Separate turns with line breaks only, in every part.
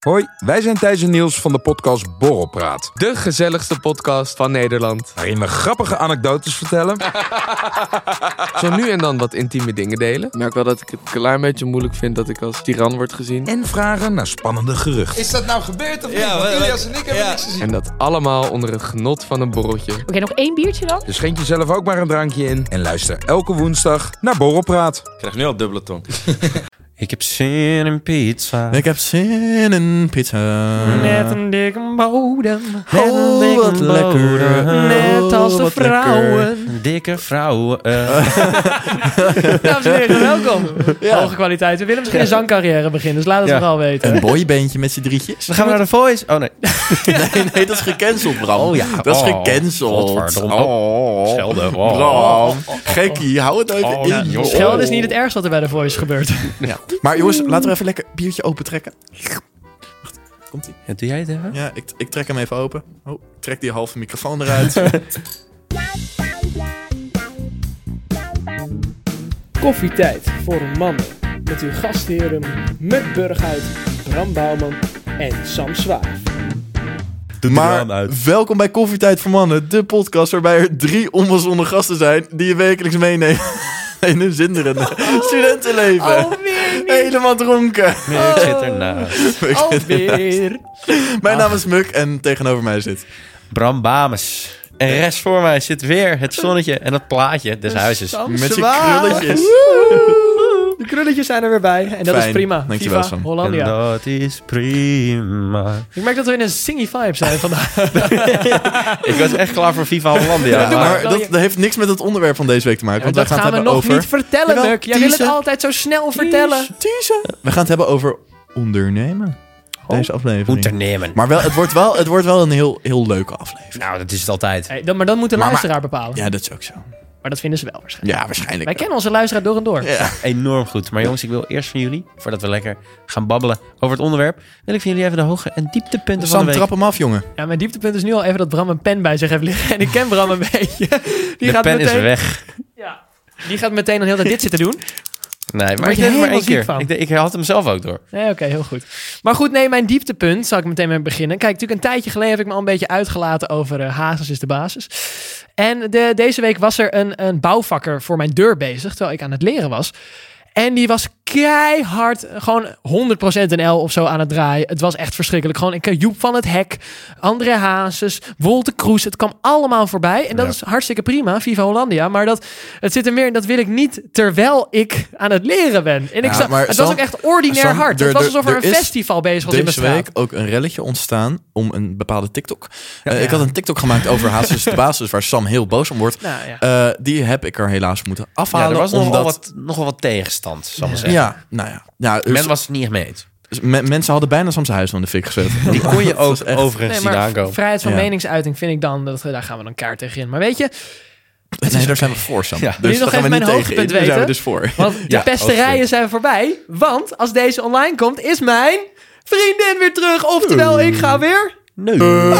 Hoi, wij zijn Thijs en Niels van de podcast Borrelpraat.
De gezelligste podcast van Nederland.
Waarin we grappige anekdotes vertellen.
Zo nu en dan wat intieme dingen delen. Ik merk wel dat ik het een klein beetje moeilijk vind dat ik als tiran word gezien.
en vragen naar spannende geruchten.
Is dat nou gebeurd of niet?
Ja,
Want
wat-
Ilias en ik hebben
ja.
niks gezien.
En dat allemaal onder het genot van een borreltje.
Oké, nog één biertje dan?
Dus schenk jezelf ook maar een drankje in. En luister elke woensdag naar Borrelpraat.
Ik krijg nu al dubbele tong.
Ik heb zin in pizza.
Ik heb zin in pizza.
Net een dikke bodem.
Oh, wat lekker.
Net als de
Wat lekker.
vrouwen. Dikke vrouwen. eh.
Dames en heren, welkom. Hoge kwaliteit. We willen misschien een zangcarrière beginnen, dus laat het
Ja.
vooral weten.
Een boybandje met z'n drietjes.
Dan gaan we naar de voice. Oh nee.
Nee, nee, dat is gecanceld, Bram.
Oh ja.
Dat is
Oh,
gecanceld.
godverdomme.
Oh,
Schelden.
Bram. Gekkie, hou het even
Oh,
in.
ja, joh.
Oh. joh.
Schelden is niet het ergste wat er bij de Voice gebeurt.
Maar jongens, laten we even lekker het biertje opentrekken. Wacht, komt ie?
Ja, Doe jij het even?
Ja, ik, ik trek hem even open. Oh, ik trek die halve microfoon eruit.
Koffietijd voor een man met uw gastheren Muk Burghuis, Bram Bouwman en Sam Zwaar.
Doe
maar welkom bij Koffietijd voor Mannen, de podcast waarbij er drie onbezonnen gasten zijn die je wekelijks meenemen in hun zinderende
Oh.
studentenleven. Helemaal dronken.
Ik zit ernaast.
Alweer.
Mijn naam is Muk en tegenover mij zit.
Bram Bames. En rechts voor mij zit weer het zonnetje en het plaatje des huizes.
Sam
Met zijn
Zwaar.
krulletjes.
Woe! De krulletjes zijn er weer bij. En dat
Fijn.
is prima.
Dankjewel,
Viva
Sam.
En
Hollandia.
dat is prima.
Ik merk dat we in een singy vibe zijn vandaag.
Ik was echt klaar voor Viva Hollandia.
Ja, doe
maar-
Maar dat, dat heeft niks met het onderwerp van deze week te maken,
Ja,
want
dat
wij
gaan
gaan,
we
het hebben
nog
over...
niet vertellen,
Jawel,
Muk. Jij wil het
teasen.
altijd zo snel vertellen.
We gaan het hebben over ondernemen. Deze aflevering.
Ondernemen.
maar wel, het wordt wel, het wordt wel een heel, heel leuke aflevering.
Nou, dat is het altijd.
Hey, dan, maar dan moet de
Maar- maar-
luisteraar bepalen.
Ja, dat is ook zo.
Maar dat vinden ze wel waarschijnlijk.
Ja, waarschijnlijk.
Wij kennen onze luisteraar door en door.
Ja.
Enorm goed. Maar jongens, ik wil eerst van jullie, voordat we lekker gaan babbelen over het onderwerp, wil ik van jullie even de hoge en dieptepunten van
Sam,
de week.
trap hem af, jongen.
Ja, mijn dieptepunt is nu al even dat Bram een pen bij zich heeft liggen. En ik ken Bram een beetje. Die
de
gaat
pen
meteen,
is weg.
Ja. Die gaat meteen een hele tijd dit zitten doen.
Nee, maar
Word
ik
je
deed het maar
helemaal
één
ziek
keer.
van?
Ik, deed- ik had hem zelf ook door.
Nee, oké, heel goed. Maar goed, nee, mijn dieptepunt, zal ik meteen mee beginnen. Kijk, natuurlijk een tijdje geleden heb ik me al een beetje uitgelaten over eh, Hazes is de basis. En de, deze week was er een, een bouwvakker voor mijn deur bezig, terwijl ik aan het leren was. En die was keihard, gewoon 100% een L of zo aan het draaien. Het was echt verschrikkelijk. Gewoon ik, eh, Joep van het Hek, André Hazes, Wolter Kroes. Het kwam allemaal voorbij. En dat is hartstikke prima, Viva Hollandia. Maar dat, het zit er meer in, dat wil ik niet terwijl ik aan het leren ben. En ik
Ja,
zag,
maar
het
Sam-
was ook echt ordinair
Sam,
hard.
er-
het was
er-
alsof er,
er
een
is
festival bezig was in mijn
Deze
straat.
week ook een relletje ontstaan om een bepaalde TikTok. Eh, Ik had een TikTok gemaakt over Hazes de Basis, waar Sam heel boos om wordt.
Nou, ja.
Eh, die heb ik er helaas moeten
Ja,
afhalen.
er was nogal
omdat...
wat, nogal wat tegenstand, zal ik maar zeggen.
Ja, nou ja. ja dus-
Men was het niet echt mee eens.
men- mensen hadden bijna Sam's huis van de fik gezet.
Die kon je
Dat
ook
was echt-
overigens
Nee,
zien
maar
aankomen.
vrijheid van
Ja.
meningsuiting vind ik dan, dat, daar gaan we dan kaart tegen in. Maar weet je,
Nee, daar zijn we voor, Sam.
Ja.
Dus
nog
daar gaan we
even
niet
mijn
tegen
hoogtepunt
in. Daar zijn we
weten?
dus voor.
want de
Ja,
pesterijen
absoluut.
zijn voorbij. Want als deze online komt, is mijn vriendin weer terug. Oftewel, ik ga weer...
Nee.
Eh,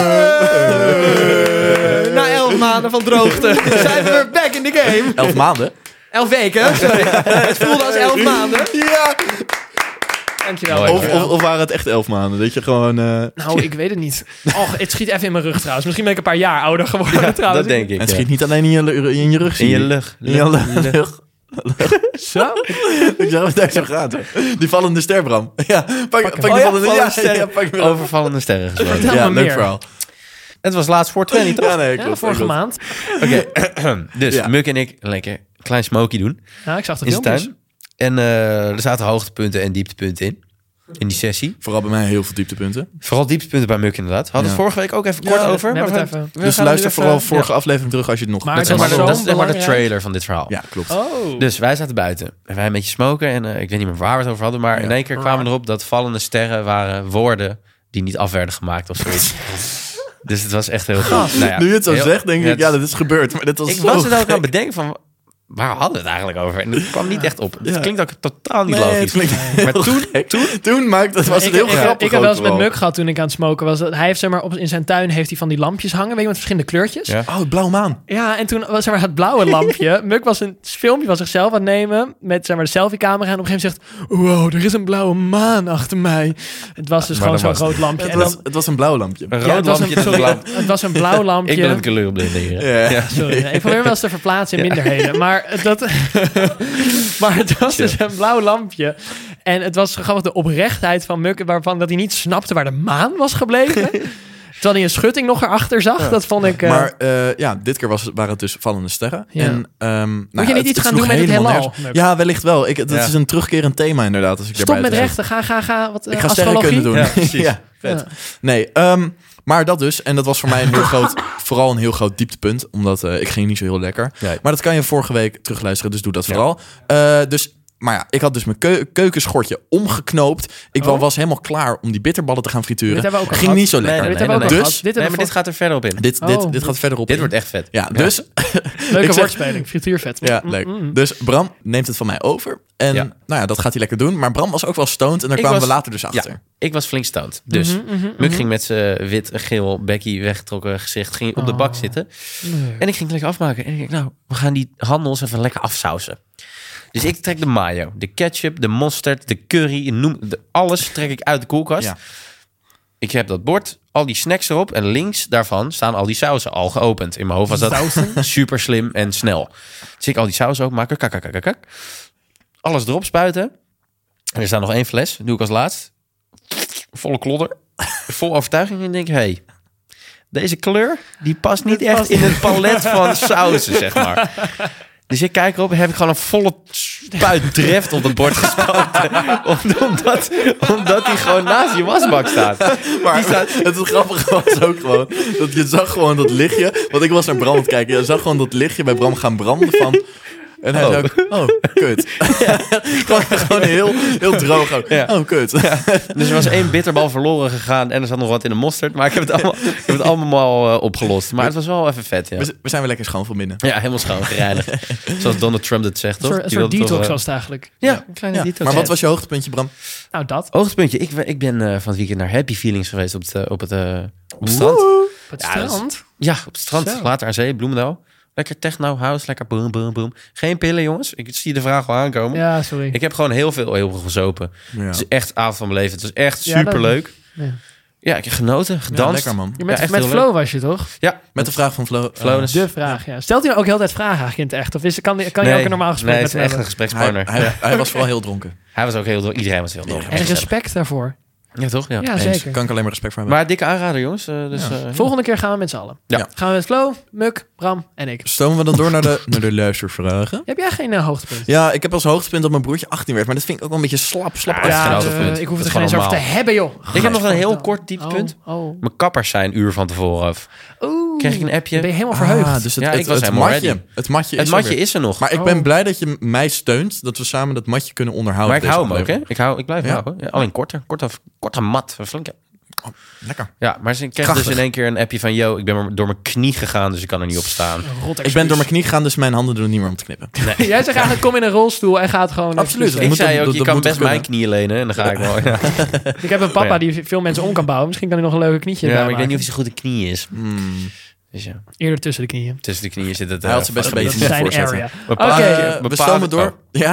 Na elf maanden van droogte zijn we weer back in the game.
Elf maanden.
Elf weken, sorry. Het voelde als elf maanden.
Ja.
Dankjewel.
Mooi.
Of, of, of waren het echt elf maanden? Dat je gewoon... eh,
Nou, ik weet het niet. Och, het schiet even in mijn rug trouwens. Misschien ben ik een paar jaar ouder geworden trouwens.
dat denk ik.
Het
ja.
schiet niet alleen in je, lu- in je rug,
In
zie
je
ik.
lucht.
In je
lucht,
lucht. lucht.
Zo?
Ik zag het daar zo gaat. hè. Die vallende ster, Bram. Ja, pak, pak, die
Oh ja,
vallende,
vallende
ja,
ster.
ja, pak hem op.
Overvallende sterren gesproken.
Vertel
Ja,
me
leuk
meer.
verhaal.
Het was laatst voor 20, toch?
Ja, nee,
Ja,
klopt,
vorige
klopt.
maand.
Oké, dus
Ja.
Muk en ik lekker een klein smoky doen.
Ja, ik zag de
in zijn
filmpjes.
tuin. En eh, er zaten hoogtepunten en dieptepunten in. In die sessie.
Vooral bij mij heel veel dieptepunten.
Vooral dieptepunten bij Muk inderdaad. Hadden we het
Ja.
vorige week ook even kort over.
hebben
we
het
gaan-
even.
we
Dus
gaan
luister
nu even- eh,
vooral
Ja.
vorige aflevering terug als je het nog
Maar
Dat
niet
is maar,
zo
de-
hebt.
dat is zeg maar de
belangrijk.
trailer van dit verhaal.
Ja, klopt.
Oh.
Dus wij zaten buiten. En wij een beetje smoken. En eh, ik weet niet meer waar we het over hadden. Maar in één keer kwamen we erop dat vallende sterren waren woorden die niet af werden gemaakt of zoiets. dus het was echt heel goed. Nou ja,
nu je het zo
heel-
zegt, denk ik,
het-
ja, dat is gebeurd. Maar dat was
ik
zo
was het ook
gek.
aan het bedenken van... waar hadden we het eigenlijk over? En dat kwam niet echt op. Het
Ja.
klinkt ook totaal niet
Nee, het
logisch.
klinkt
maar toen, toen
Toen maakte, was
ik,
het heel
ik,
grappig.
Ik heb wel eens
ook
met
gewoon.
Muk gehad toen ik aan het smoken was. Dat Hij heeft zeg maar, op, in zijn tuin heeft hij van die lampjes hangen, weet je, met verschillende kleurtjes.
Ja.
Oh, blauw maan.
Ja, en toen was zeg maar, het blauwe lampje. Muk was een filmpje van zichzelf aan het nemen met zeg maar, de selfie-camera. En op een gegeven moment zegt: Wow, er is een blauwe maan achter mij. Het was dus
Maar
gewoon
dat
zo'n
was-
groot lampje.
Het
En
was,
dan-
het was een blauw lampje.
een
ja,
rood
het was
lampje
een-
en een
sorry,
blauw.
Het was een blauw lampje.
Ik ben een kleurenblinde hier.
Ja.
Ja.
Sorry, ik probeer wel eens te verplaatsen in minderheden. Maar, dat, maar het was dus een blauw lampje. En het was grappig de oprechtheid van Muk... waarvan dat hij niet snapte waar de maan was gebleven. Terwijl hij een schutting nog erachter zag. Dat vond ik... eh,
Maar eh, ja, dit keer was, waren het dus vallende sterren.
Ja.
En, ehm, nou
moet
ja,
je niet
het-
iets
het
gaan
sloeg
doen met het
helemaal
heelal?
nergens-
Muk?
Ja, wellicht wel. Ik, dat
Ja.
is een terugkerend thema inderdaad. Als ik
Stop
erbij
met
zeg.
rechten. Ga, ga, ga. Wat, eh,
Ik ga
astrologie?
sterrenkunde doen.
Ja, precies.
vet. Nee, ehm, maar dat dus. En dat was voor mij een heel groot, vooral een heel groot dieptepunt. Omdat eh, ik ging niet zo heel lekker.
Nee.
Maar dat kan je vorige week terugluisteren, dus doe dat vooral. Eh, dus, maar ja, ik had dus mijn keu- keukenschortje omgeknoopt. Ik wa-
Oh.
was helemaal klaar om die bitterballen te gaan frituren.
Dit hebben we ook al
ging
gehad.
niet zo lekker.
dit
Nee,
hebben we ook
nee,
al
dus-
gehad. Dit
Nee,
hebben
maar
we
dit gaat er verder op in.
Dit, dit,
Oh.
dit gaat verder op.
Dit
in.
wordt echt vet.
Ja, dus
voor- Leuke
ik zeg-
woordspeling. Frituurvet.
Ja, leuk. Dus Bram neemt het van mij over. En
Ja.
nou ja, dat gaat hij lekker doen. Maar Bram was ook wel stoned. En daar
Ik
kwamen
was-
we later dus
Ja,
achter. Mhm,
ik was flink stoned. Dus Muk ging met zijn wit, geel, Becky weggetrokken gezicht ging op de
Oh,
bak zitten. En ik ging het lekker afmaken. En ik dacht, nou, we gaan die handels even lekker afsausen. Dus ik trek de mayo, de ketchup, de mosterd, de curry, noem, de, alles trek ik uit de koelkast.
Ja.
Ik heb dat bord, al die snacks erop. En links daarvan staan al die sausen al geopend. In mijn hoofd was dat super slim en snel. Dus ik al die sausen openmaken, kak, kak, kak, kak, kak. Alles erop spuiten. En er staat nog één fles, doe ik als laatst. Volle klodder. Vol overtuiging. En ik denk, hé, hey, deze kleur, die past niet echt in het palet van sausen, zeg maar. Dus ik kijk erop en heb ik gewoon een volle spuit dreft op het bord gespoten. Om- omdat, omdat die gewoon naast je wasbak staat.
Maar
Die staat-
het grappige was ook gewoon dat je zag gewoon dat lichtje. Want ik was naar Bram aan het kijken. Je zag gewoon dat lichtje bij Bram gaan branden van... En hij
Oh.
zei ook, oh, kut. gewoon gewoon heel, heel droog ook.
Ja.
Oh, kut.
Dus er was één bitterbal verloren gegaan en er zat nog wat in de mosterd. Maar ik heb het allemaal, ik heb het allemaal eh, opgelost. Maar het was wel even vet, ja.
We, we zijn weer lekker schoon van binnen.
Ja, helemaal schoon, gereinigd. Zoals Donald Trump dat zegt,
Een
toch?
soort, een
Die
soort
wil toch,
detox
eh,
was het eigenlijk.
Ja, een kleine
Ja.
detox.
Maar wat was je hoogtepuntje, Bram?
Nou, dat.
Oogpuntje, ik, ik ben eh, van het weekend naar Happy Feelings geweest op het, eh, op het, eh, op het strand.
Op het
Ja, dat is-
strand.
Ja, op het strand.
Zo.
Later aan zee, Bloemendaal. Lekker techno, house, lekker boom, boom, boom. Geen pillen, jongens. Ik zie de vraag al aankomen.
Ja, sorry.
Ik heb gewoon heel veel, heel veel gezopen.
Ja,
Het is echt avond van mijn leven. Het was echt
Ja, dat-
superleuk.
Ja.
Ja, ik heb genoten, gedanst.
lekker man.
Ja, met
Ja, echt
met
heel
Flo was je toch?
Ja,
Met de vraag van Flo.
Flo,
eh,
dus-
De vraag, ja. Stelt hij nou ook heel de tijd vragen eigenlijk in het echt? Of is, kan, die- kan je
Nee,
ook een normaal gesprek
nee,
met
het
hem
is echt een
hebben?
hij,
gesprekspartner. ja.
hij, hij was vooral heel dronken.
Hij was ook heel dol. Iedereen was heel dol.
En respect daarvoor.
Ja, toch? Ja.
Ja,
Eens.
zeker.
Kan ik alleen maar respect voor hebben.
Maar dikke aanrader, jongens. eh, dus, eh,
Volgende keer gaan we met z'n allen.
Ja.
Gaan we met Flo, Muk, Bram en ik.
Stomen we dan door naar de, naar de luistervragen?
Heb jij geen eh, hoogtepunt?
Ja, ik heb als hoogtepunt dat mijn broertje 18 werd. Maar dat vind ik ook wel een beetje slap,
Ja,
slap.
dat is geen
eh,
hoogtepunt.
ik hoef
Dat
er
is
geen eens
gewoon
over te
normaal.
hebben, joh.
Ik heb nog een heel
Gadverdamme.
kort dieptepunt.
Oh, oh.
Mijn kappers zijn een uur van tevoren af.
Oeh,
Kreeg ik een appje.
ben je helemaal
Ah,
verheugd.
dus het,
Ja,
het,
ik was
het
helemaal
matje.
ready.
Het matje is
Het
er
matje
weer.
is er nog.
Maar ik
Oh.
ben blij dat je mij steunt. Dat we samen dat matje kunnen onderhouden.
Maar ik
deze
hou hem ook, hè?
aflevering.
Ik, hou, ik blijf hem
Ja.
houden. Ja, alleen korter. Korter, korter mat. Een Flinke.
Lekker.
Ja, maar ze kreeg
Krachtig.
dus in één keer een appje van... Yo, ik ben maar door mijn knie gegaan, dus ik kan er niet op staan.
Rot
Ik ben door mijn knie gegaan, dus mijn handen doen niet meer om te knippen.
Jij zegt eigenlijk, kom in een rolstoel en gaat gewoon...
Absoluut.
ik
moet-
zei
dat-
ook, je
dat
kan
moet
best
kunnen.
mijn knieën lenen. En dan ga ik wel. Ja,
Ik heb een
Oh,
papa
ja.
die veel mensen om kan bouwen. Misschien kan hij nog een leuke knietje
Ja,
erbij
maar ik weet niet of
maken.
hij zo goed een knie is.
Hmm.
Dus ja,
Eerder tussen de knieën.
tussen de knieën zit het... eh,
Hij had zijn best
een
een
Dat
beetje
is
moet
zijn
voorzetten.
area.
Bepaalde,
Oké.
Eh,
bepaalde,
we stomen door.
oh,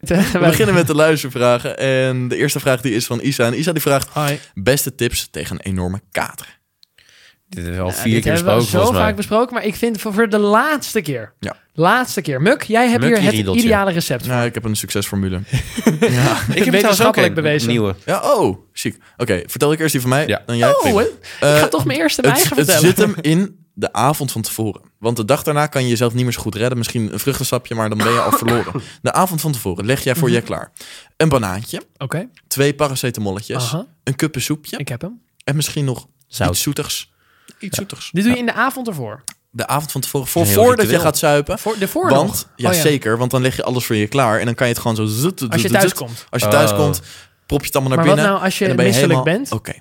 Ja, we beginnen met de luistervragen. En de eerste vraag die is van Isa. En Isa die vraagt,
Hoi.
beste tips tegen een enorme kater.
dit is al
Ja,
vier
dit
keer
hebben we
besproken,
zo
volgens
vaak
mij.
besproken, maar ik vind voor, voor de laatste keer.
Ja.
Laatste keer. Muk, jij hebt
Muk,
hier
je
het
riedeltje.
ideale recept.
Nou, ik heb een succesformule.
Ik heb trouwens ook
wetenschappelijk
een
bewezen.
nieuwe.
Ja, oh, chic. Oké, vertel ik eerst die van mij,
Ja.
dan jij.
oh,
Prima.
hè? ik ga
Eh,
toch mijn eerste mijn
Het,
eigen
het
vertellen.
zit hem in de avond van tevoren. Want de dag daarna kan je jezelf niet meer zo goed redden. Misschien een vruchtensapje, maar dan ben je al verloren. De avond van tevoren leg jij voor je klaar. Een banaantje,
Oké,
twee paracetamolletjes,
Aha.
een kuppen soepje
ik heb hem.
en misschien nog
Zout.
iets zoetigs. Iets zoetigs.
Dit doe je in de avond ervoor.
De avond van tevoren, voor,
Een heel
voordat je
ritueel.
gaat zuipen.
Voor, de voor
Want,
nog.
ja
Oh,
zeker, want dan leg je alles voor je klaar. En dan kan je het gewoon zo... zut, zut,
Als je
zut,
thuis
zut.
komt.
Als je thuis
Oh.
komt, prop je het allemaal
Maar
naar
wat
binnen.
nou als je
en dan ben je
misselijk
helemaal-
bent?
Oké.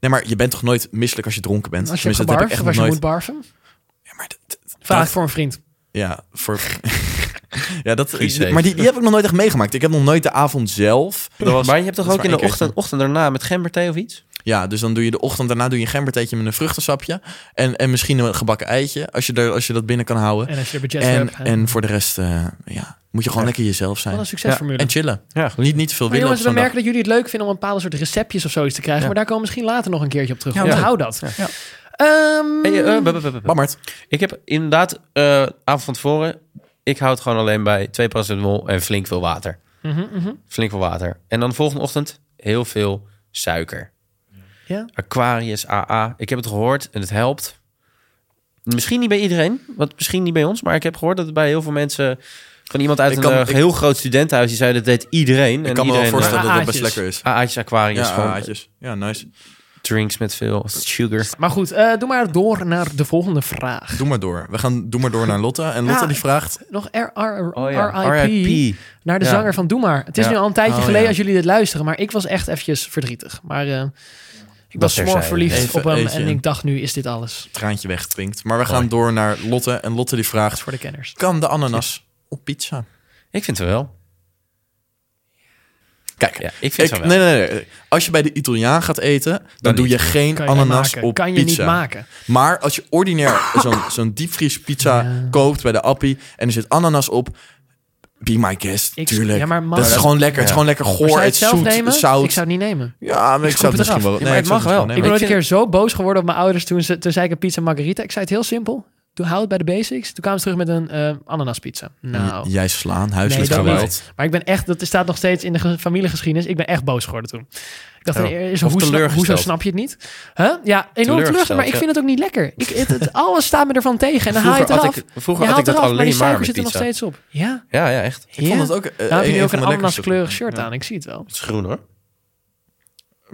Nee, maar je bent toch nooit misselijk als je dronken bent?
Als je
Tenminste, dat heb ik echt
gebarft of
nog
als je
nooit...
moet barven.
Ja, maar dat- dat-
Vraag
dat-
voor een vriend.
Ja, voor... Ja, dat,
Guus heeft.
maar die, die heb ik nog nooit echt meegemaakt. Ik heb nog nooit de avond zelf. Dat was,
maar je hebt toch
dat
ook
is
in
maar
de
één keertje.
ochtend, ochtend daarna met gemberthee of iets?
Ja, dus dan doe je de ochtend daarna doe je een gembertheetje met een vruchtensapje. En, en misschien een gebakken eitje, als je, er, als je dat binnen kan houden.
En eh, als je er budget voor
En,
hebt. hè.
en voor de rest eh, ja, moet je gewoon lekker jezelf zijn.
Wat een succesformule.
En chillen.
Ja.
Niet, niet te veel
Maar
willen
jongens, we
op zo'n
merken dat jullie het leuk vinden om een bepaalde soort receptjes of zoiets te krijgen.
Ja.
Maar daar komen we misschien later nog een keertje op terug.
Ja,
Onthoud dat.
Ja.
Ehm,
Hey, eh, bup, bup, bup,
dag.
bup.
Bammert.
Ik heb inderdaad eh avond van tevoren. Ik houd gewoon alleen bij 2 paracetamol en flink veel water.
mhm, mhm.
Flink veel water. En dan de volgende ochtend heel veel suiker.
Ja.
Aquarius AA. Ik heb het gehoord en het helpt. Misschien niet bij iedereen, want misschien niet bij ons, maar ik heb gehoord dat het bij heel veel mensen van iemand uit
Ik
een
kan-
eh,
ik-
heel groot studentenhuis die zei dat deed iedereen.
Ik kan me wel voorstellen dat dat best
AA'tjes.
lekker is.
AA'tjes Aquarius
Ja,
van
AA'tjes. Ja, nice.
drinks met veel sugar.
Maar goed, eh, doe maar door naar de volgende vraag.
Doe maar door. We gaan doe maar door naar Lotte. En Lotte
Ja.
die vraagt...
Nog R- R-
Oh ja,
RIP.
RIP.
Naar de
Ja.
zanger van Doe Maar. Het is
Ja.
nu al een tijdje
Oh,
geleden
ja.
als jullie dit luisteren. Maar ik was echt eventjes verdrietig. Maar eh, ik was
terzijde.
smoor verliefd
Even
op hem.
eentje
en
in.
ik dacht, nu is dit alles
traantje wegpinkt. Maar we gaan door naar Lotte. En Lotte die vraagt:
voor de kenners.
kan de ananas op pizza?
Ik vind het wel.
Kijk,
Ja, ik vind
ik,
het wel.
nee, nee, nee. Als je bij de Italiaan gaat eten, dan, doe je geen
Kan je niet
ananas
maken.
op
Kan je
pizza.
niet maken.
Maar als je ordinair zo'n zo'n diepvriespizza
Ja.
koopt bij de appie en er zit ananas op, be my guest,
Ik-
tuurlijk.
ja, maar man-
dat is gewoon lekker. Het is gewoon lekker
Maar
goor,
zou je
het
het
is
zelf
zoet,
nemen?
zout.
Ik zou het niet nemen.
Ja, maar ik,
schroep
zou het
het
misschien
eraf.
wel.
Ja,
nee,
maar
ik
het
zou
mag wel.
nemen.
Ik
ik
ben ooit een
vind-
keer zo boos geworden op mijn ouders toen, ze, toen zei ik een pizza margarita. Ik zei het heel simpel. Doe houd bij de basics. Toen kwamen ze terug met een eh ananaspizza. Nou,
Jij slaan, huiselijk
Nee, dat
geweld.
niet. maar ik ben echt, dat staat nog steeds in de ge- familiegeschiedenis. Ik ben echt boos geworden toen. Ik dacht,
Oh.
eh, is,
Of
hoe, sna-
teleurgesteld.
hoezo snap je het niet? Huh? Ja, enorm teleurgesteld, maar ik
ja.
vind het ook niet lekker. Ik, het, het- alles staat me ervan tegen en dan haal je het
Vroeger
eraf.
had ik, vroeger
je
had ik
haalt
dat
eraf, maar die
alleen maar
suiker
met
zit er nog
pizza.
steeds op. Ja,
Ja, ja, echt.
Ik vond dat ook. eh,
Daar heb je nu ook
van
een
de lekkerste.
ananaskleurig shirt aan, ik zie het wel.
Het is groen hoor.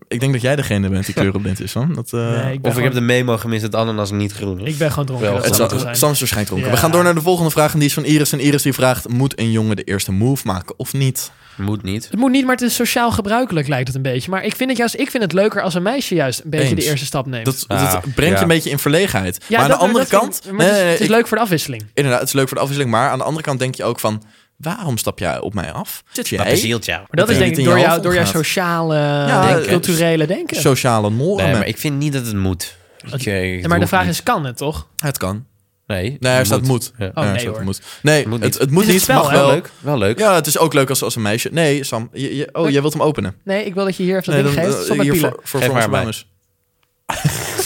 Ik denk dat jij degene bent die kleurenblind is, man. Dat, eh,
Nee, ik ben,
Of ik
gewoon,
heb de memo gemist dat ananas niet groen is.
ik ben gewoon dronken.
Wel,
dat
Het
zou
zal,
zou
het
Sam
wel
is
zijn.
waarschijnlijk dronken.
Ja.
We gaan door naar de volgende vraag en die is van Iris. En Iris die vraagt, moet een jongen de eerste move maken of niet?
Moet niet.
Het moet niet, maar het is sociaal gebruikelijk lijkt het een beetje. Maar ik vind het juist, ik vind het leuker als een meisje juist een beetje
Eens.
de eerste stap neemt.
Dat,
Ah,
dat brengt
ja.
je een beetje in verlegenheid.
ja,
maar aan
dat-
de andere
dat
kant...
vind ik- maar het is,
nee, nee,
het is
ik-
leuk voor de afwisseling.
Inderdaad, het is leuk voor de afwisseling. Maar aan de andere kant denk je ook van... Waarom stap jij op mij af? Zit
Dat
jij
bezielt jou.
Maar dat
Dat
is
je
denk ik
niet in je
door, jou,
hoofd
door jouw
omgaat.
sociale,
Ja,
denken,
eh,
culturele denken.
sociale normen?
Nee, maar ik vind niet dat het moet. Ik, eh,
Ja,
het
maar de
hoeft
vraag
niet.
is, kan het toch?
Het kan.
Nee,
Nee, er staat moet.
Ja.
Oh,
Ja, er
nee,
staat
hoor.
moet. Nee,
Moet
het,
niet.
het moet
Het is
niet,
het
mag
spel, hè?
wel.
Wel leuk. Wel leuk.
Ja, het is ook leuk als, als een meisje. Nee, Sam. Je, je- oh, jij wilt hem openen.
Nee, ik wil dat je hier even
Nee,
dat ding geeft.
eh,
Stop met
hier
pielen.
voor, voor
Geef
voor onze
maar aan
dames.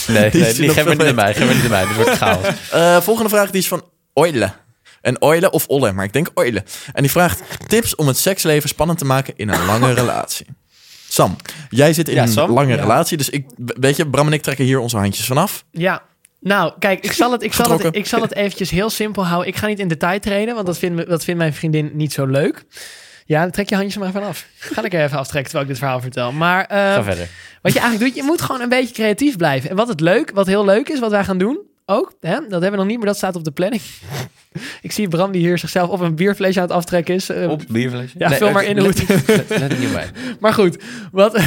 Nee,
Die
nee,
is
die
nog
geven we niet
veel
aan mij. Geven we niet aan mij. Dat wordt chaos.
Eh, volgende vraag die is van Oile. En Oile of Olle, maar ik denk Oile. En die vraagt tips om het seksleven spannend te maken in een lange relatie. Sam, jij zit in
Ja,
een
Sam,
lange
ja.
relatie, dus ik, weet je, Bram en ik trekken hier onze handjes vanaf.
Ja. Nou, kijk, ik zal, het, ik, zal het,
Getrokken.
ik zal het eventjes heel simpel houden. Ik ga niet in detail trainen, want dat vindt, me- dat vindt mijn vriendin niet zo leuk. Ja, dan trek je handjes er maar vanaf. Ga ik er even aftrekken terwijl ik dit verhaal vertel. Maar eh,
Ga verder.
Wat je eigenlijk doet, je moet gewoon een beetje creatief blijven. En wat het leuk, wat heel leuk is, wat wij gaan doen, ook, hè, dat hebben we nog niet, maar dat staat op de planning. Ik zie Bram die hier zichzelf op een bierflesje aan het aftrekken is. Eh,
Op bierflesje.
Ja, vul maar in hoe
Let, let, let, let er niet op mij.
Maar goed, wat,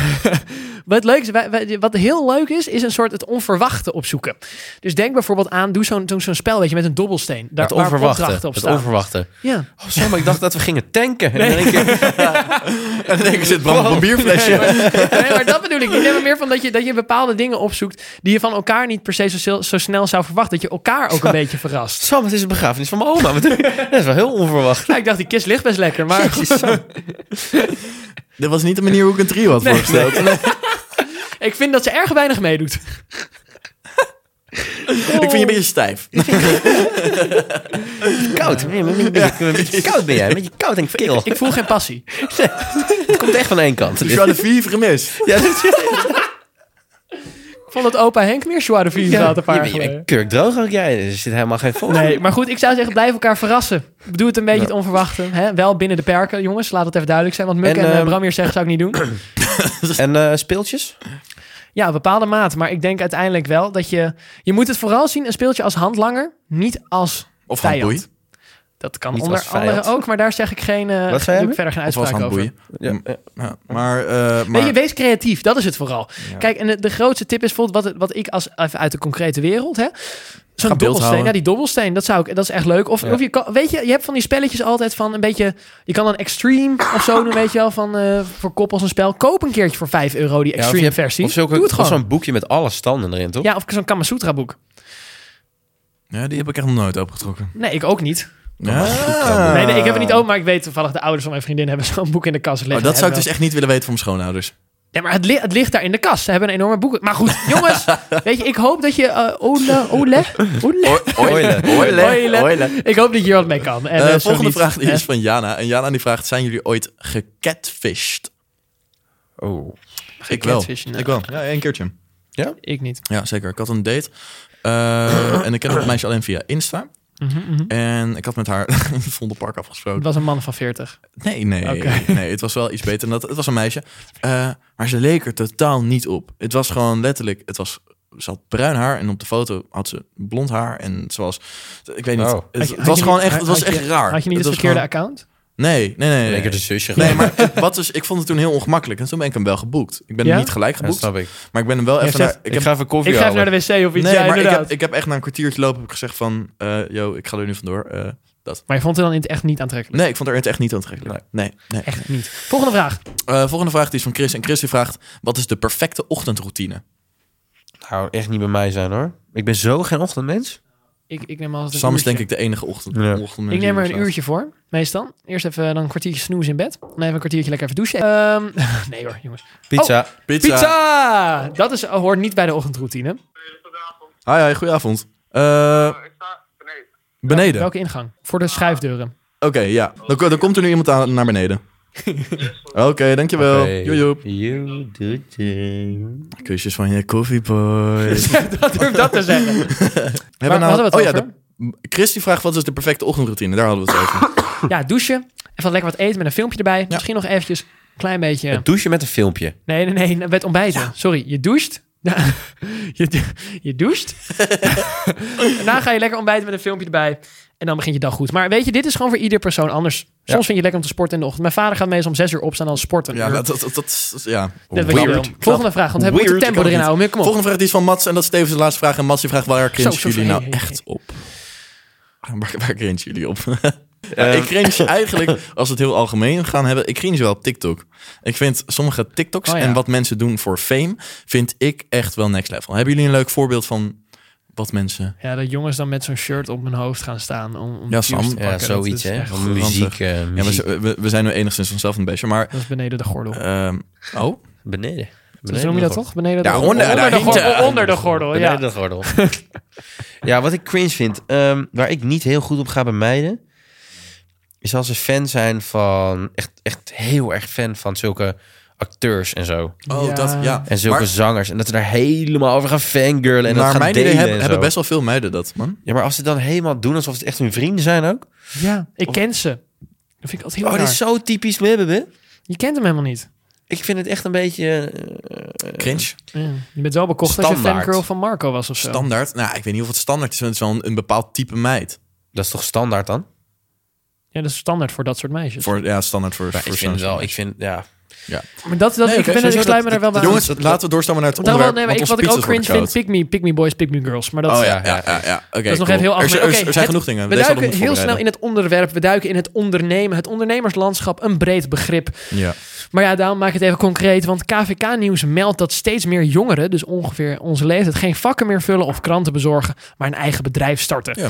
wat, leuk is, wij- wij- wat heel leuk is, is een soort het onverwachte opzoeken. Dus denk bijvoorbeeld aan, doe zo'n doe zo'n spel, weet je, met een dobbelsteen. Daar
Het
waar
onverwachte.
opdrachten op
Het
staan.
onverwachte.
Ja.
Oh, Sam, ik dacht dat we gingen tanken. En dan denk ik,
En dan denk ik, zit Bram op een
Wow.
bierflesje.
Nee, maar dat bedoel ik niet. Nee, maar meer van dat je, dat je bepaalde dingen opzoekt die je van elkaar niet per se zo, zo snel zou verwachten. Dat je elkaar ook een beetje verrast.
Sam, het is een begrafenis van mijn oma. Wat doe je? Dat is wel heel onverwacht.
Ja, ik dacht, die kist ligt best lekker, maar...
Dit was niet de manier hoe ik een trio had voorgesteld.
Ik vind dat ze erg weinig meedoet.
Ik vind je een beetje stijf.
Koud. Nee, maar een beetje, een beetje koud ben jij. Een beetje koud en veel.
Ik voel geen passie.
Het komt echt van één kant.
Dus je had de vivre mis.
Ja, dat
Ik vond dat opa Henk meer Joie de Vive had een paar jaar
je bent
geleden.
kurkdroog ook jij. Er zit helemaal geen vol.
Nee, maar goed, ik zou zeggen, blijf elkaar verrassen. Doe het een beetje het onverwachte. Hè? Wel binnen de perken, jongens. Laat het even duidelijk zijn. Want Muk en,
En,
eh,
ehm,
Bram hier zeggen, zou ik niet doen.
En eh, speeltjes?
Ja, bepaalde maat. Maar ik denk uiteindelijk wel dat je... Je moet het vooral zien, een speeltje als handlanger. Niet als
Of
vijand.
handboei.
Dat kan
Niet
onder
als vijand.
andere ook, maar daar zeg ik geen, eh,
Wat zei
doe
hij?
ik verder geen
Of was
uitspraak
aan het
over.
boeien.
Ja, ja.
Ja, maar, eh, maar
Weet je, wees creatief, dat is het vooral.
Ja.
Kijk, en de, de grootste tip is bijvoorbeeld wat, het- wat ik als even uit de concrete wereld, hè, zo'n
beeld
dobbelsteen,
houden.
ja, die dobbelsteen, dat zou ik, dat is echt leuk. Of,
Ja.
of je kan, weet je, je hebt van die spelletjes altijd van een beetje, je kan een extreme of zo doen, weet je wel, van eh, voor koppels een spel. Koop een keertje voor 5 euro
Ja,
die
of je
extreme
hebt-
versie.
Of zulke-
Doe het
of
gewoon.
zo'n boekje met alle standen erin, toch?
ja, of zo'n Kamasutra boek.
ja, die heb ik echt nog nooit opgetrokken.
Nee, ik ook niet.
Ja.
Nee, nee, ik heb het niet open, maar ik weet toevallig de ouders van mijn vriendin hebben zo'n boek in de kast liggen.
Ah. Oh, dat zou ik
Hebben-
dus echt niet willen weten van mijn schoonouders.
Nee, maar het, li- het ligt daar in de kast. Ze hebben een enorme boek. Maar goed, jongens, weet je, ik hoop dat je eh, Ole, Ole, Ole,
Oile.
Oile. Ik hoop dat je hier wat mee kan. En,
Eh,
eh, zo
volgende
niet.
vraag die
Eh,
is van Jana. En Jana die vraagt, zijn jullie ooit gecatfished?
Oh.
Ik wel.
Gecatfished, nou.
Ik wel. Ja, één keertje.
Ik niet.
Ja, zeker. Ik had een date. Eh, en ik ken het meisje alleen via Insta.
Mhm, mhm.
En ik had met haar in het Vondelpark afgesproken.
Het was een man van 40.
Nee, nee,
Oké.
nee. Het was wel iets beter dan dat. Het was een meisje. Eh, maar ze leek er totaal niet op. Het was gewoon letterlijk... Het was, ze had bruin haar en op de foto had ze blond haar. En ze was... Ik weet niet.
Oh.
Het,
Had je-
het
had
was
je
gewoon
niet-
echt, het was
had je-
echt raar.
Had je niet het,
was
verkeerde
gewoon-
account?
Nee, nee, nee. nee.
Lekker de zusje.
Nee,
gewoon.
maar het- wat is, ik vond het toen heel ongemakkelijk. En toen ben ik hem wel geboekt. Ik ben
Ja?
hem niet gelijk
Dat
geboekt.
snap ik.
maar ik ben hem wel
Je
even...
zegt,
naar-
Ik,
heb-
ga even koffie
Ik ga even naar
halen.
de wc of iets.
Nee,
ja,
maar ik
inderdaad.
heb, ik heb echt na een kwartiertje lopen heb ik gezegd van... eh yo, ik ga er nu vandoor. Eh,
Maar je vond het dan in het echt niet aantrekkelijk?
nee, ik vond haar het echt niet aantrekkelijk. Nee, nee.
Echt niet. Volgende vraag.
Eh, volgende vraag die is van Chris. En Chris die vraagt... Wat is de perfecte ochtendroutine?
Nou, echt niet bij mij zijn hoor. Ik ben zo geen ochtendmens.
Ik, ik neem altijd een
Sam is
uurtje.
denk ik de enige ochtend.
Ja.
ochtend
Ik neem er een uurtje voor, meestal. Eerst even eh, dan een kwartiertje snoezen in bed. Dan even een kwartiertje lekker even douchen. Ehm, nee hoor, jongens.
Pizza.
Pizza.
Pizza! Dat is, eh, hoort niet bij de ochtendroutine.
Hi, hi, goedenavond. Eh, beneden. Oké,
Welke ingang? Voor de schuifdeuren.
ja. Dan, ko- dan komt er nu iemand aan, naar beneden. Oké, dankjewel.
Oh.
Oké.
Joejoe.
You do thing.
Kusjes van je koffieboy.
dat durf dat te zeggen. Waar
Hebben we
hadden we het
oh ja,
over?
de, Chris die vraagt wat is dus de perfecte ochtendroutine? Daar hadden we het over.
Ja, douchen. Even lekker wat eten met een filmpje erbij. Misschien nog eventjes een klein beetje...
Het douchen met een filmpje.
Nee, nee, nee. Met ontbijten. Sorry, je doucht. je, dou- je doucht. Daarna ga je lekker ontbijten met een filmpje erbij. En dan begint je dag goed. Maar weet je, dit is gewoon voor ieder persoon anders. Soms
Ja.
vind je het lekker om te sporten in de ochtend. Mijn vader gaat meestal om zes uur opstaan en dan sporten.
ja, dat, dat, dat, dat- ja.
Dat weet ik wel. Volgende vraag, want we moeten
Weird,
tempo
ik kan
erin
het
houden. Kom op.
Volgende vraag die is van Mats en dat is tevens de laatste vraag. En Mats die vraagt waar cringe
zo, zo.
jullie nou
Hey, hey,
echt op? Waar, waar cringe jullie op? Ja, ik cringe eigenlijk, als we het heel algemeen gaan hebben, ik cringe wel op TikTok. Ik vind sommige TikToks
Oh ja.
en wat mensen doen voor fame, vind ik echt wel next level. Hebben jullie een leuk voorbeeld van wat mensen...
Ja, dat jongens dan met zo'n shirt op hun hoofd gaan staan om, om
Ja,
views
Sam.
te pakken.
Ja,
Dat
zoiets
is
hè.
echt-
Van muziek. eh,
Ja,
muziek.
we, we- we zijn nu enigszins vanzelf een beetje, maar...
Dat is beneden de gordel.
ehm, oh?
Beneden.
Dus noem je dat toch? Beneden de
Ja,
gordel.
onder-
onder,
daar
de
hing
gordel,
ze.
onder de gordel,
Beneden
ja.
de gordel. ja, wat ik cringe vind, ehm, waar ik niet heel goed op ga bij meiden, is als ze fan zijn van, echt, echt heel erg fan van zulke acteurs en zo.
Oh,
Ja.
dat, ja.
En zulke
Maar-
zangers. En dat ze daar helemaal over gaan fangirlen en dat
naar
gaan
mijn
delen
idee hebben,
en
hebben
zo.
best wel veel meiden dat, man.
Ja, maar als ze dan helemaal doen alsof het echt hun vrienden zijn ook.
Ja, ik ken ze. Dat vind ik altijd heel
Oh, dit
raar.
is zo typisch Mebbe.
Je kent hem helemaal niet.
Ik vind het echt een beetje... eh,
Cringe.
Ja. Je bent wel bekocht als je
Standaard.
fangirl van Marco was of zo.
Standaard. Nou, ik weet niet of het standaard is, want het is wel een, een bepaald type meid.
dat is toch standaard dan?
Ja, dat is standaard voor dat soort meisjes.
Voor, ja, standaard voor...
Ja,
voor
ik vind
zo'n-
het wel, ik vind, ja.
Maar dat, dat,
Nee,
ik,
oké,
ben,
sowieso
ik sluit me
dat-
er wel bij aan.
Jongens, laten we doorstaan naar het
Daarom wel-
onderwerp.
nee, maar ik,
want
wat ik
onze pizza's
ook cringe
worden
vind,
koud.
pick me, pick me boys, pick me girls. Maar dat,
Oh
is-
ja, ja, ja. ja. Oké,
dat is nog
cool.
even heel
Er zijn-
algemeen.
Er,
Oké,
er zijn
het-
genoeg dingen.
We
Deze hadden
duiken
we
heel snel in
voorbereid.
het onderwerp. We duiken in het ondernemen. Het ondernemerslandschap, een breed begrip.
Ja.
Maar ja, daarom maak ik het even concreet. Want KVK-nieuws meldt dat steeds meer jongeren, dus ongeveer onze leeftijd, geen vakken meer vullen of kranten bezorgen, maar een eigen bedrijf starten.
Ja,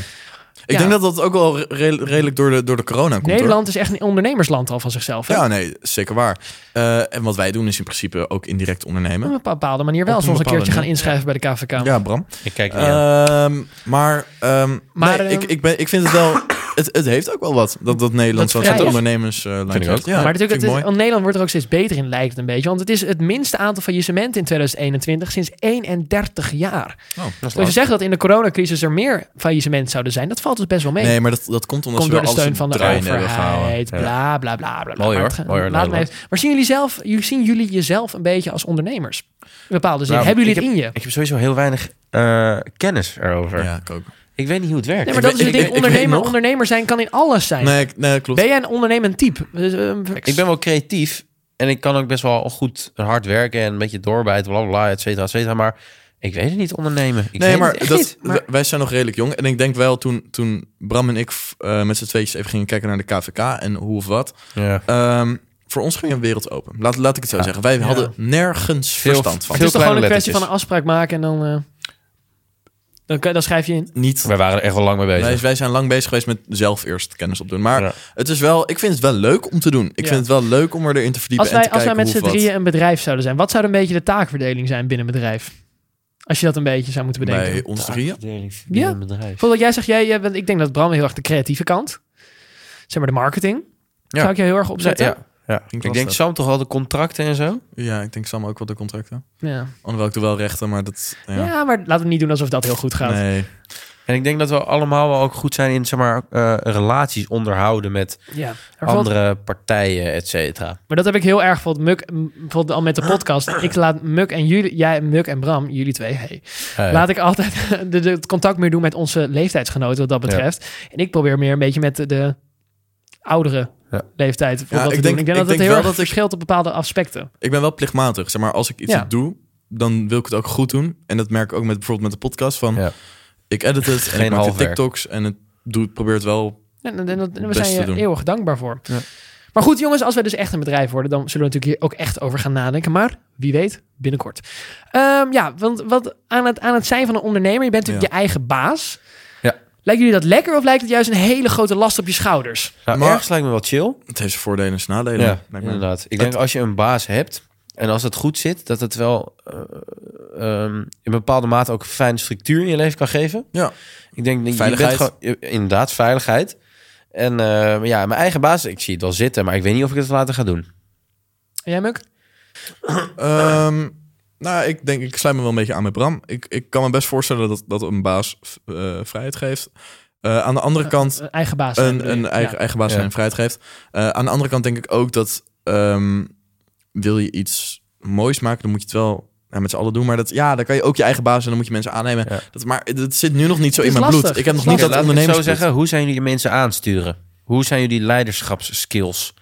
Ik denk dat dat ook wel re- redelijk door de, door de corona komt. hoor.
Nederland is echt een ondernemersland al van zichzelf. Hè?
Ja, nee, zeker waar. Eh, en wat wij doen is in principe ook indirect
Op
ondernemen.
een bepaalde manier wel.
Op
Als
een
we ons een
bepaalde
keertje gaan
manier.
inschrijven bij de KVK.
Ja, Bram.
Ik kijk niet aan.
Ehm, maar ehm,
Maar,
nee,
ehm,
ik, ik, ben, ik vind het wel... Het, het heeft ook wel wat, dat, dat Nederland
Dat
zo'n soort
vrij is.
ondernemersland
Vind ik ook.
Ja,
maar natuurlijk,
vind ik
het is-
mooi.
want Nederland wordt er ook steeds beter in, lijkt het een beetje. Want het is het minste aantal faillissementen in 2021 sinds 31 jaar.
Dat is
Dus je
lastig.
zegt dat in de coronacrisis er meer faillissementen zouden zijn. Dat valt dus best wel mee.
Nee, maar dat, dat komt omdat
Komt
ze
door
wel alles
de steun van de
draaiende hebben gehouden.
overheid. Bla, bla, bla, bla. bla.
Mooi hoor,
Maar het-
mooi hoor,
laat me
Nederland.
even- Maar zien jullie, zelf, jullie- zien jullie jezelf een beetje als ondernemers? In bepaalde zin.
Nou,
Dus Hebben jullie
ik
het in je?
Ik heb sowieso heel weinig eh, kennis erover.
Ja, ik ook.
Ik weet niet hoe het werkt.
Nee, maar dat is het
ik-
ding.
ik- ik weet
ondernemer,
nog-
ondernemer zijn kan in alles zijn.
Nee, ik- nee klopt.
Ben jij een ondernemend type? Dus, ehm,
Ik ben wel creatief en ik kan ook best wel goed en hard werken en een beetje doorbijten, bla bla, bla, et cetera, et cetera. Maar ik weet het niet ondernemen. Ik
nee,
weet
maar,
het echt
dat,
niet. Maar-
w- wij zijn nog redelijk jong. En ik denk wel, toen, toen Bram en ik f- eh, met z'n tweetjes even gingen kijken naar de KVK en hoe of wat.
Ja.
ehm, voor ons ging een wereld open. Laat, laat ik het zo zeggen. Wij hadden nergens
Veel-
verstand van. Dus
het is toch gewoon een
kleine
kwestie van een
lettertjes.
afspraak maken en dan, eh, dan, kan- dan schrijf je in.
Niet.
Wij waren er echt wel lang mee bezig.
Wij, wij zijn lang bezig geweest met zelf eerst kennis opdoen. Maar
Ja.
het is wel, ik vind het wel leuk om te doen. Ik
Ja.
vind het wel leuk om er erin te verdiepen
Als wij,
en te
als wij
kijken
met z'n
hoe of wat.
drieën een bedrijf zouden zijn, wat zou dan een beetje de taakverdeling zijn binnen een bedrijf? Als je dat een beetje zou moeten bedenken.
Bij ons drieën.
Ja.
Een bedrijf.
Bijvoorbeeld, jij zegt, jij, jij bent, ik denk dat Bram heel erg de creatieve kant, zeg maar de marketing,
Ja.
zou ik jou heel erg opzetten.
Ja, ja.
Klinkt
Ik denk
lastig.
Sam toch wel de contracten en zo?
Ja, ik denk Sam ook wel de contracten.
Ja.
Alhoewel ik doe wel rechten, maar dat... Ja.
Ja. maar laten we niet doen alsof dat heel goed gaat.
Nee.
En ik denk dat we allemaal wel ook goed zijn in zeg maar, eh, relaties onderhouden met
Ja. Maar, bijvoorbeeld-
andere partijen, et cetera.
maar dat heb ik heel erg bijvoorbeeld, Muk, m, bijvoorbeeld al met de podcast. ik laat Muk en jullie, jij, Muk en Bram, jullie twee, hey,
Eh,
laat ik altijd de, de- het contact meer doen met onze leeftijdsgenoten wat dat
Ja.
betreft. En ik probeer meer een beetje met de, de oudere
Ja.
leeftijd voor
Ja,
wat te
ik
doen.
denk-
Ik denk
ik
dat het
denk
heel
wel
erg
dat ik-
verschilt op bepaalde aspecten.
Ik ben wel plichtmatig. Zeg maar, als ik iets
Ja.
doe, dan wil ik het ook goed doen. En dat merk ik ook met, bijvoorbeeld met de podcast. Van,
Ja.
Ik edit het en
Geen
ik maak de
halfwerk.
TikToks. En het doet, probeert wel...
En, en- en dat- en we
Best
zijn je
te doen.
eeuwig dankbaar voor.
Ja.
Maar goed, jongens, als wij dus echt een bedrijf worden, dan zullen we natuurlijk hier ook echt over gaan nadenken. Maar wie weet, binnenkort. Ehm, ja, want wat aan het, aan het zijn van een ondernemer, je bent natuurlijk je eigen baas.
Ja.
Lijkt jullie dat lekker of lijkt het juist een hele grote last op je schouders?
nou,
maar-
ergens lijkt me wel chill.
Het heeft zijn voordelen en zijn nadelen.
Ja,
lijkt me.
inderdaad. Ik denk als je een baas hebt en als het goed zit, dat het wel eh, ehm, in een bepaalde mate ook een fijne structuur in je leven kan geven.
Ja.
Ik denk, dat je bent
Veiligheid.
gewoon, je- inderdaad, veiligheid. En eh, maar ja, mijn eigen baas, ik zie het wel zitten, maar ik weet niet of ik het later ga doen.
En jij, Muk?
Ehm, nou, ik denk, ik sluit me wel een beetje aan met Bram. Ik, ik kan me best voorstellen dat, dat een baas eh, vrijheid geeft. Eh, aan de andere kant,
Een eigen baas. zijn,
een,
bedoel
een
je?
eigen,
Ja.
eigen baas zijn
Ja.
en vrijheid geeft. Eh, aan de andere kant denk ik ook dat ehm, wil je iets moois maken, dan moet je het wel ja, met z'n allen doen. Maar dat, ja, dan kan je ook je eigen baas en dan moet je mensen aannemen.
Ja.
Dat, maar dat zit nu nog niet zo
Het
in
is
mijn
lastig.
bloed. Ik heb nog
Het is
niet
Laat ik
dat
het zo
ondernemersbloed.
zeggen, hoe zijn jullie mensen aansturen? Hoe zijn jullie leiderschapskills?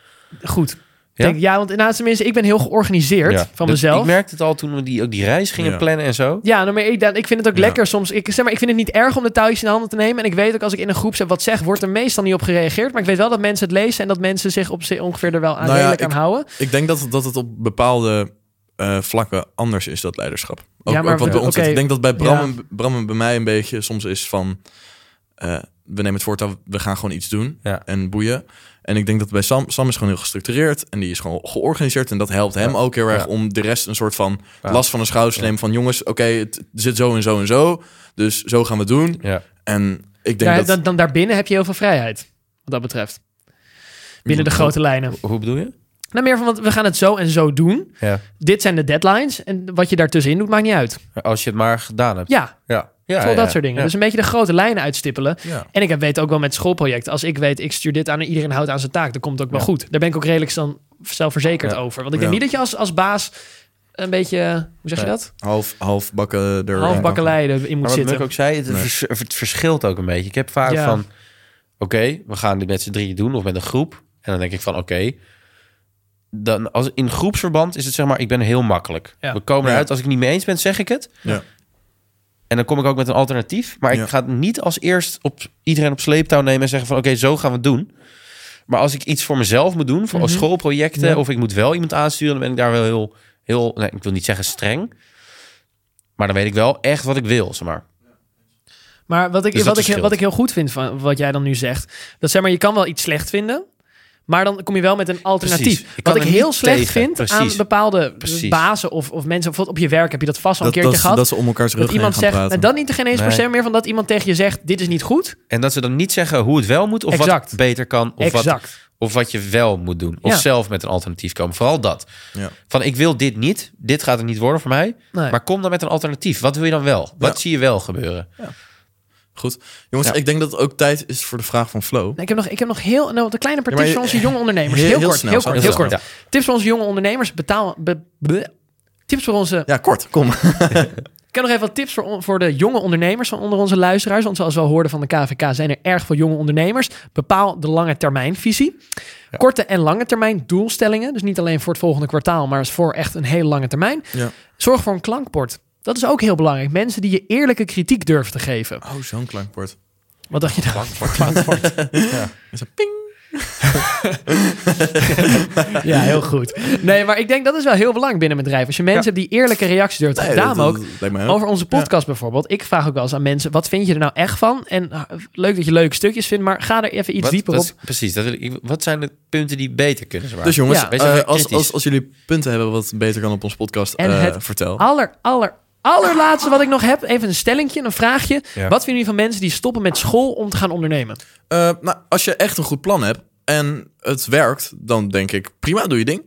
Goed.
Ja?
Ja, denk, ja want inderdaad, tenminste, ik ben heel georganiseerd
Ja.
van
Dat-
Dus
mezelf.
Ik merkte het al toen we die, ook die reis gingen
Ja.
plannen en zo.
Ja, nou, maar ik, ik vind het ook
Ja.
lekker soms. Ik, zeg maar, ik vind het niet erg om de touwtjes in de handen te nemen. En ik weet ook als ik in een groep zet wat zeg, wordt er meestal niet op gereageerd. Maar ik weet wel dat mensen het lezen en dat mensen zich op zich ongeveer er wel aan
Nou ja,
redelijk
ik-
aan houden.
Ik denk dat, dat het op bepaalde eh, vlakken anders is, dat leiderschap. Ook,
Ja, maar
ook wat
we-
bij ons
oké.
zit. Ik denk dat bij Bram,
Ja.
en, Bram en bij mij een beetje soms is van... eh, we nemen het voortouw, we gaan gewoon iets doen
Ja.
en boeien. En ik denk dat bij Sam, Sam is gewoon heel gestructureerd en die is gewoon georganiseerd. En dat helpt hem
Ja.
ook heel erg
Ja.
om de rest een soort van
Ja.
last van de schouders te nemen. Van jongens, oké, het zit zo en zo en zo. Dus zo gaan we het doen.
Ja.
En ik denk
Daar,
dat...
dan, dan daarbinnen heb je heel veel vrijheid, wat dat betreft. Binnen de
Ja.
grote lijnen.
Hoe bedoel je?
Nou, meer van, want we gaan het zo en zo doen.
Ja.
Dit zijn de deadlines. En wat je daartussenin doet, maakt niet uit.
Als je het maar gedaan hebt.
Ja,
Ja. Ja,
vooral
ja,
dat soort dingen.
ja.
Dus een beetje de grote lijnen uitstippelen.
Ja.
En ik heb, weet ook wel met schoolprojecten. Als ik weet, ik stuur dit aan en iedereen houdt aan zijn taak. Dan komt het ook wel
Ja.
goed. Daar ben ik ook redelijk dan zelfverzekerd
Ja.
over. Want ik denk
Ja.
niet dat je als, als baas een beetje, hoe zeg je
Nee.
dat?
Half, half bakken er...
Halfbakkeleien in moet
Maar wat
zitten.
ik ook zei, het,
Nee.
vers- het verschilt ook een beetje. Ik heb vaak
Ja.
van, oké, we gaan dit met z'n drieën doen of met een groep. En dan denk ik van, oké, dan als in groepsverband is het zeg maar, ik ben heel makkelijk.
Ja.
We komen
Ja.
eruit, als ik het niet mee eens ben, zeg ik het.
Ja.
En dan kom ik ook met een alternatief. Maar ik
Ja.
ga het niet als eerst op iedereen op sleeptouw nemen en zeggen van, oké, zo gaan we het doen. Maar als ik iets voor mezelf moet doen, voor als
Mhm.
schoolprojecten,
Ja.
of ik moet wel iemand aansturen, dan ben ik daar wel heel, heel nee, ik wil niet zeggen streng. Maar dan weet ik wel echt wat ik wil, zeg maar.
Maar wat ik,
Dus dat
wat, ik,
verschilt.
wat ik heel goed vind van wat jij dan nu zegt. Dat zeg maar, je kan wel iets slecht vinden. Maar dan kom je wel met een alternatief.
Precies. Je kan
wat ik
er niet
heel slecht
tegen.
vind aan
Precies.
bepaalde
Precies.
bazen of, of mensen. Bijvoorbeeld op je werk heb je dat vast al
Dat,
een keertje
dat,
gehad.
dat ze om elkaar
dat
rug heen
iemand
gaan
zegt,
praten.
en dan niet geen eens
Nee.
per se meer van dat iemand tegen je zegt, dit is niet goed.
En dat ze dan niet zeggen hoe het wel moet, of
Exact.
wat beter kan, of wat,
exact.
of wat je wel moet doen. Of
Ja.
zelf met een alternatief komen. Vooral dat.
Ja.
Van ik wil dit niet, dit gaat het niet worden voor mij.
Nee.
Maar kom dan met een alternatief. Wat wil je dan wel? Wat zie je wel gebeuren?
Goed. Jongens,
Ja.
ik denk dat het ook tijd is voor de vraag van Flo.
Nee, Ik heb nog, ik heb nog heel nou, een kleine paar
Ja, maar
tips voor
je-
onze jonge ondernemers. Heel,
heel- heel
kort,
snel,
heel
sorry,
kort, heel
heel
kort.
snel.
Tips voor onze jonge ondernemers. Betaal, be- be- tips voor onze
Ja, kort, kom.
Ik heb nog even wat tips voor, on- voor de jonge ondernemers van onder onze luisteraars. Want zoals we al hoorden van de KVK zijn er erg veel jonge ondernemers. Bepaal de lange termijn visie. Korte en lange termijn doelstellingen. Dus niet alleen voor het volgende kwartaal, maar voor echt een hele lange termijn.
Ja.
Zorg voor een klankbord. Dat is ook heel belangrijk. Mensen die je eerlijke kritiek durven te geven.
Oh, zo'n klankbord.
Wat dacht je daar?
En zo ping.
Ja, heel goed. Nee, maar ik denk dat is wel heel belangrijk binnen een bedrijf. Als je mensen hebt die eerlijke reacties durft te
Nee,
geven.
dat-
Daarom
dat-
ook
dat lijkt mij ook.
over onze podcast bijvoorbeeld. Ik vraag ook wel eens aan mensen, wat vind je er nou echt van? En ah, leuk dat je leuke stukjes vindt, maar ga er even iets
Wat-
dieper
dat
op.
is- Precies. Dat wil ik, wat zijn de punten die beter kunnen zijn?
Dus jongens,
Ja.
Wees even
eh, als,
kritisch.
als, als jullie punten hebben wat beter kan op ons podcast,
En
eh,
het-
vertel.
Aller, aller, allerlaatste wat ik nog heb. Even een stellingje, een vraagje.
Ja.
Wat vinden jullie van mensen die stoppen met school om te gaan ondernemen?
Eh, nou, als je echt een goed plan hebt en het werkt, dan denk ik prima, doe je ding.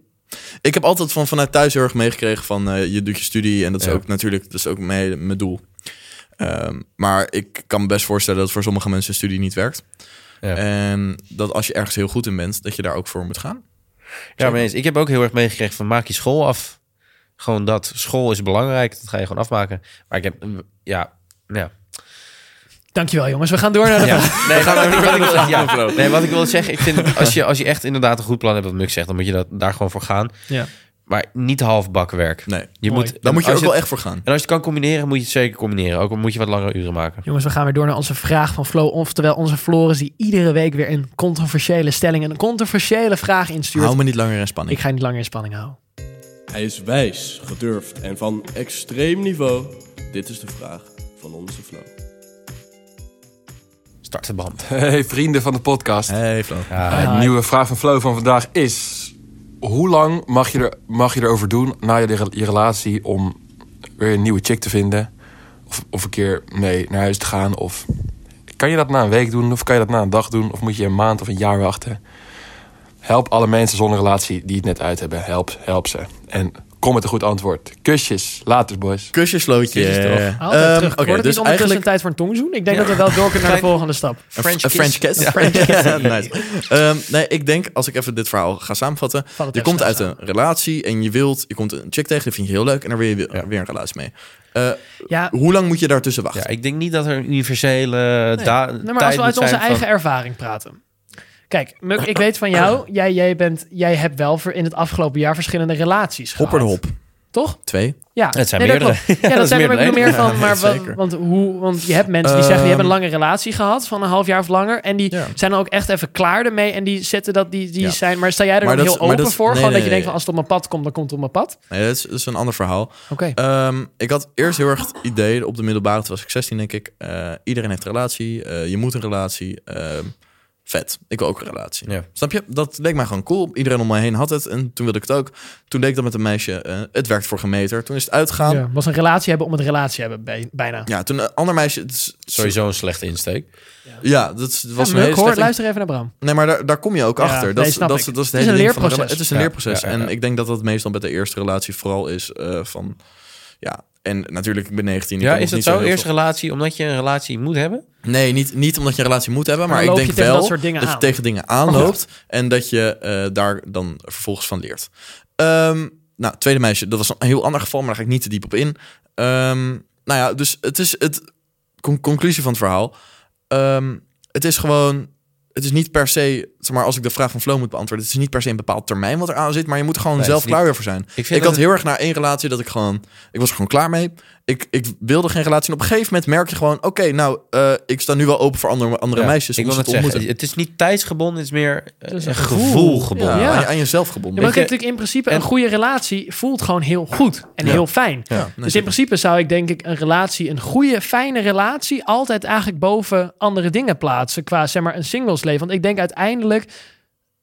Ik heb altijd van vanuit thuis heel erg meegekregen van eh, je doet je studie en dat is
Ja.
ook natuurlijk dat is ook mijn, mijn doel. Ehm, maar ik kan me best voorstellen dat voor sommige mensen een studie niet werkt.
Ja.
En dat als je ergens heel goed in bent, dat je daar ook voor moet gaan.
Ja, maar eens. Ik heb ook heel erg meegekregen van maak je school af. Gewoon dat. School is belangrijk. Dat ga je gewoon afmaken. Maar ik heb... Ja. Ja.
Dankjewel jongens, we gaan door naar de...
ja. Nee, maar wat ik- wat ik wil zeggen- ja.
aflopen.
Nee, wat ik wil zeggen. Ik vind als je, als je echt inderdaad een goed plan hebt, wat Muk zegt, dan moet je dat, daar gewoon voor gaan.
Ja.
Maar niet halfbakken werk.
Nee,
Je
Mooi.
moet,
daar moet je ook
als
wel
het-
echt voor gaan.
En als je het kan combineren, moet je het zeker combineren. Ook al moet je wat langere uren maken.
Jongens, we gaan weer door naar onze vraag van Flo. Oftewel onze Floris die iedere week weer een controversiële stelling... en een controversiële vraag instuurt.
Hou me niet langer in spanning.
Ik ga je niet langer in spanning houden.
Hij is wijs, gedurfd en van extreem niveau. Dit is de vraag van onze Flo.
Start de band.
Hey vrienden van de podcast.
Hey Flo.
De nieuwe vraag van Flo van vandaag is... Hoe lang mag je, er, mag je erover doen na je, re- je relatie om weer een nieuwe chick te vinden? Of, of een keer mee naar huis te gaan? Of kan je dat na een week doen? Of kan je dat na een dag doen? Of moet je een maand of een jaar wachten? Help alle mensen zonder relatie die het net uit hebben. Help, help ze. En kom met een goed antwoord. Kusjes. Later, boys.
Kusjes, Slootje.
Kusjes, toch?
Altijd
Ehm,
terug.
Oké,
Wordt het
dus
niet ondertussen een
eigenlijk
tijd voor een tongzoen? Ik denk dat we wel door kunnen naar de volgende stap.
French
Een
kiss.
French kiss.
Een French
Ja, nice. Ehm, nee, ik denk, als ik even dit verhaal ga samenvatten.
Vat het
Je
even
komt
snel
uit een relatie en je wilt... Je komt een chick tegen, die vind je heel leuk. En daar wil je weer, weer een relatie mee. Eh,
Ja,
hoe lang moet je daartussen
Ja,
wachten?
ik denk niet dat er een universele da-
nee,
tijd
maar als we
moet
uit onze
zijn van-
eigen ervaring praten. Kijk, Muk, ik weet van jou, jij, jij, bent, jij hebt wel voor in het afgelopen jaar verschillende relaties gehad.
Hopper de hop.
Toch?
Twee.
Ja,
Het zijn
nee, dat
meerdere.
klopt. Ja, dat,
is
zijn er
meer
maar ik
dan
bedoel meer
één.
van. Maar
Ja,
wa-
zeker.
want, hoe, want je hebt mensen die zeggen, die
Ehm,
hebben een lange relatie gehad van een half jaar of langer. En die
Ja.
zijn dan ook echt even klaar ermee. En die zetten dat, die, die
Ja.
zijn. Maar sta jij er
Maar dat-
dan heel
maar
open
dat-
voor?
nee,
Gewoon
nee,
dat je denkt
nee.
van als het op mijn pad komt, dan komt het op mijn pad. Eh,
Nee, dat is, dat is een ander verhaal.
Oké.
Ehm, ik had eerst heel erg het idee, op de middelbare, toen was ik 16 denk ik. eh, iedereen heeft een relatie, eh, je moet een relatie. ehm, vet, ik wil ook een relatie.
Ja.
Snap je? Dat leek mij gewoon cool. Iedereen om me heen had het en toen wilde ik het ook. Toen deed ik dat met een meisje, eh, het werkt voor gemeter. Toen is het uitgegaan. Ja,
Ja, was een relatie hebben om een relatie hebben, bij- bijna.
toen een ander meisje... het is-
Sowieso een slechte insteek.
Ja, dat was
Ja,
een
Muk,
hele
hoor,
slechte-
luister even naar Bram.
Nee, maar daar, daar kom je ook
Ja,
achter.
nee,
Dat, is
snap
dat, is-
ik.
dat is het
Het is
hele
een
ding van de
leerproces.
rela- Het is een
Ja,
leerproces.
ja, ja, ja.
En ik denk dat dat meestal bij de eerste relatie vooral is eh, van... Ja, en natuurlijk, ik ben 19. ik
Ja,
kan
is
nog
dat
niet zo
zo?
heel
Eerste
veel-
relatie omdat je een relatie moet hebben?
Nee, niet, niet omdat je een relatie moet hebben,
Maar
maar,
loop
ik
je
denk
tegen
wel
dat soort dingen
dat je
aan? Oh.
tegen dingen aanloopt en dat je eh, daar dan vervolgens van leert. Ehm, nou, tweede meisje, dat was een heel ander geval, maar daar ga ik niet te diep op in. Ehm, nou ja, dus het is het con- conclusie van het verhaal. Ehm, het is gewoon, het is niet per se, zeg maar, als ik de vraag van Flo moet beantwoorden, het is niet per se een bepaald termijn wat er aan zit, maar je moet er gewoon
Nee,
zelf
het is niet-
klaar weer voor zijn.
vind
Ik,
dat
had
het-
heel erg naar één relatie dat ik gewoon, ik was er gewoon klaar mee. Ik, ik wilde geen relatie. En op een gegeven moment merk je gewoon, oké, nou, eh, ik sta nu wel open voor andere, andere
Ja,
meisjes.
Ik
om
wil
ze
net
te
zeggen,
ontmoeten.
het is niet tijdsgebonden, het is meer eh,
is
een
een
gevoel,
gevoel.
gebonden.
Ja,
Ja.
Aan, je, aan jezelf gebonden.
Ja, maar
Weet
ik
je-
heb natuurlijk in principe een
en-
goede relatie voelt gewoon heel goed en heel fijn.
Ja, nee,
dus in principe zou ik denk ik een relatie, een goede, fijne relatie, altijd eigenlijk boven andere dingen plaatsen qua zeg maar een singlesleven. Want ik denk uiteindelijk,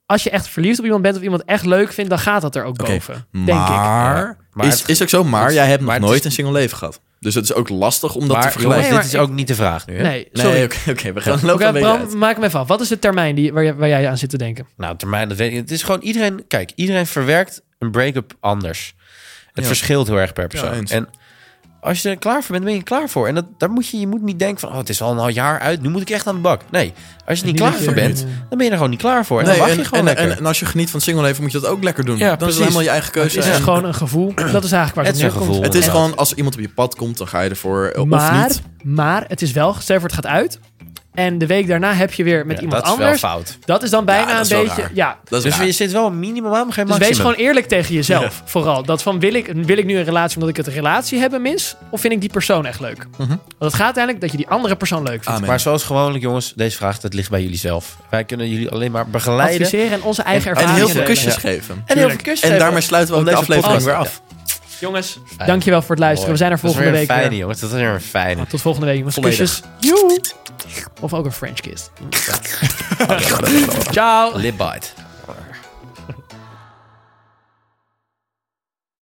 als je echt verliefd op iemand bent of iemand echt leuk vindt, dan gaat dat er ook
Oké,
boven. denk ik.
maar,
Ja, maar
is,
het-
is ook zo, maar
het-
jij hebt nog
maar het
nooit
is-
een single leven gehad. Dus het is ook lastig om dat te
Maar jongens,
vergelijken.
Nee, maar
dit is
ik-
ook niet de vraag nu. Hè?
Nee,
Nee,
sorry.
oké, oké, we gaan lopen
Oké,
een beetje uit.
Bram, maak hem even af. Wat is de termijn die, waar, jij- waar jij aan zit te denken?
Nou, termijn, dat weet ik. Het is gewoon iedereen. Kijk, iedereen verwerkt een break-up anders. Het verschilt heel erg per persoon.
eens.
en als je er klaar voor bent, ben je er klaar voor. En dat, daar moet je, je moet niet denken van, oh, het is al een jaar uit, nu moet ik echt aan de bak. Nee, als je er niet klaar voor bent, dan ben je er gewoon niet klaar voor. En
Nee,
dan wacht
en,
je gewoon
en,
lekker.
en, en als je geniet van singleleven, moet je dat ook lekker doen.
Ja,
dan is
precies.
het helemaal je eigen keuze.
Het is
En-
dus gewoon een gevoel. Dat is eigenlijk waar het,
Het is een
neerkomt.
gevoel.
het is
Ja.
gewoon, als iemand op je pad komt, dan ga je ervoor eh, of
Maar,
niet.
maar het is wel, stel je voor het gaat uit. En de week daarna heb je weer met
Ja,
iemand
dat is
anders.
wel fout.
Dat is dan bijna
Ja, dat is
een
wel
beetje.
raar.
Ja.
Dat is
Dus
raar.
je zit wel een minimaal, maar geen
Dus
maximum.
wees gewoon eerlijk tegen jezelf. Vooral. Dat van wil ik, wil ik nu een relatie omdat ik het een relatie hebben mis? Of vind ik die persoon echt leuk?
Mhm.
Want het gaat uiteindelijk dat je die andere persoon leuk vindt.
Amen.
Maar zoals gewoonlijk, jongens, deze vraag, dat ligt bij jullie zelf. Wij kunnen jullie alleen maar begeleiden.
Adviseren en onze eigen
En-
en
ervaringen.
heel veel
delen.
kusjes
Ja.
geven.
En heel veel
Tuurlijk.
kusjes
En
geven.
daarmee sluiten we ook
Om
de
deze
aflevering weer
podcast-
af.
Jongens, dankjewel voor het luisteren. We zijn er volgende
dat is
week eh.
weer. Een fijne,
weer.
jongens. Dat is weer een fijne.
Tot volgende week. jongens.
Volledig.
Kusjes. Joe. Of ook een French kiss. Ciao.
Lip bite.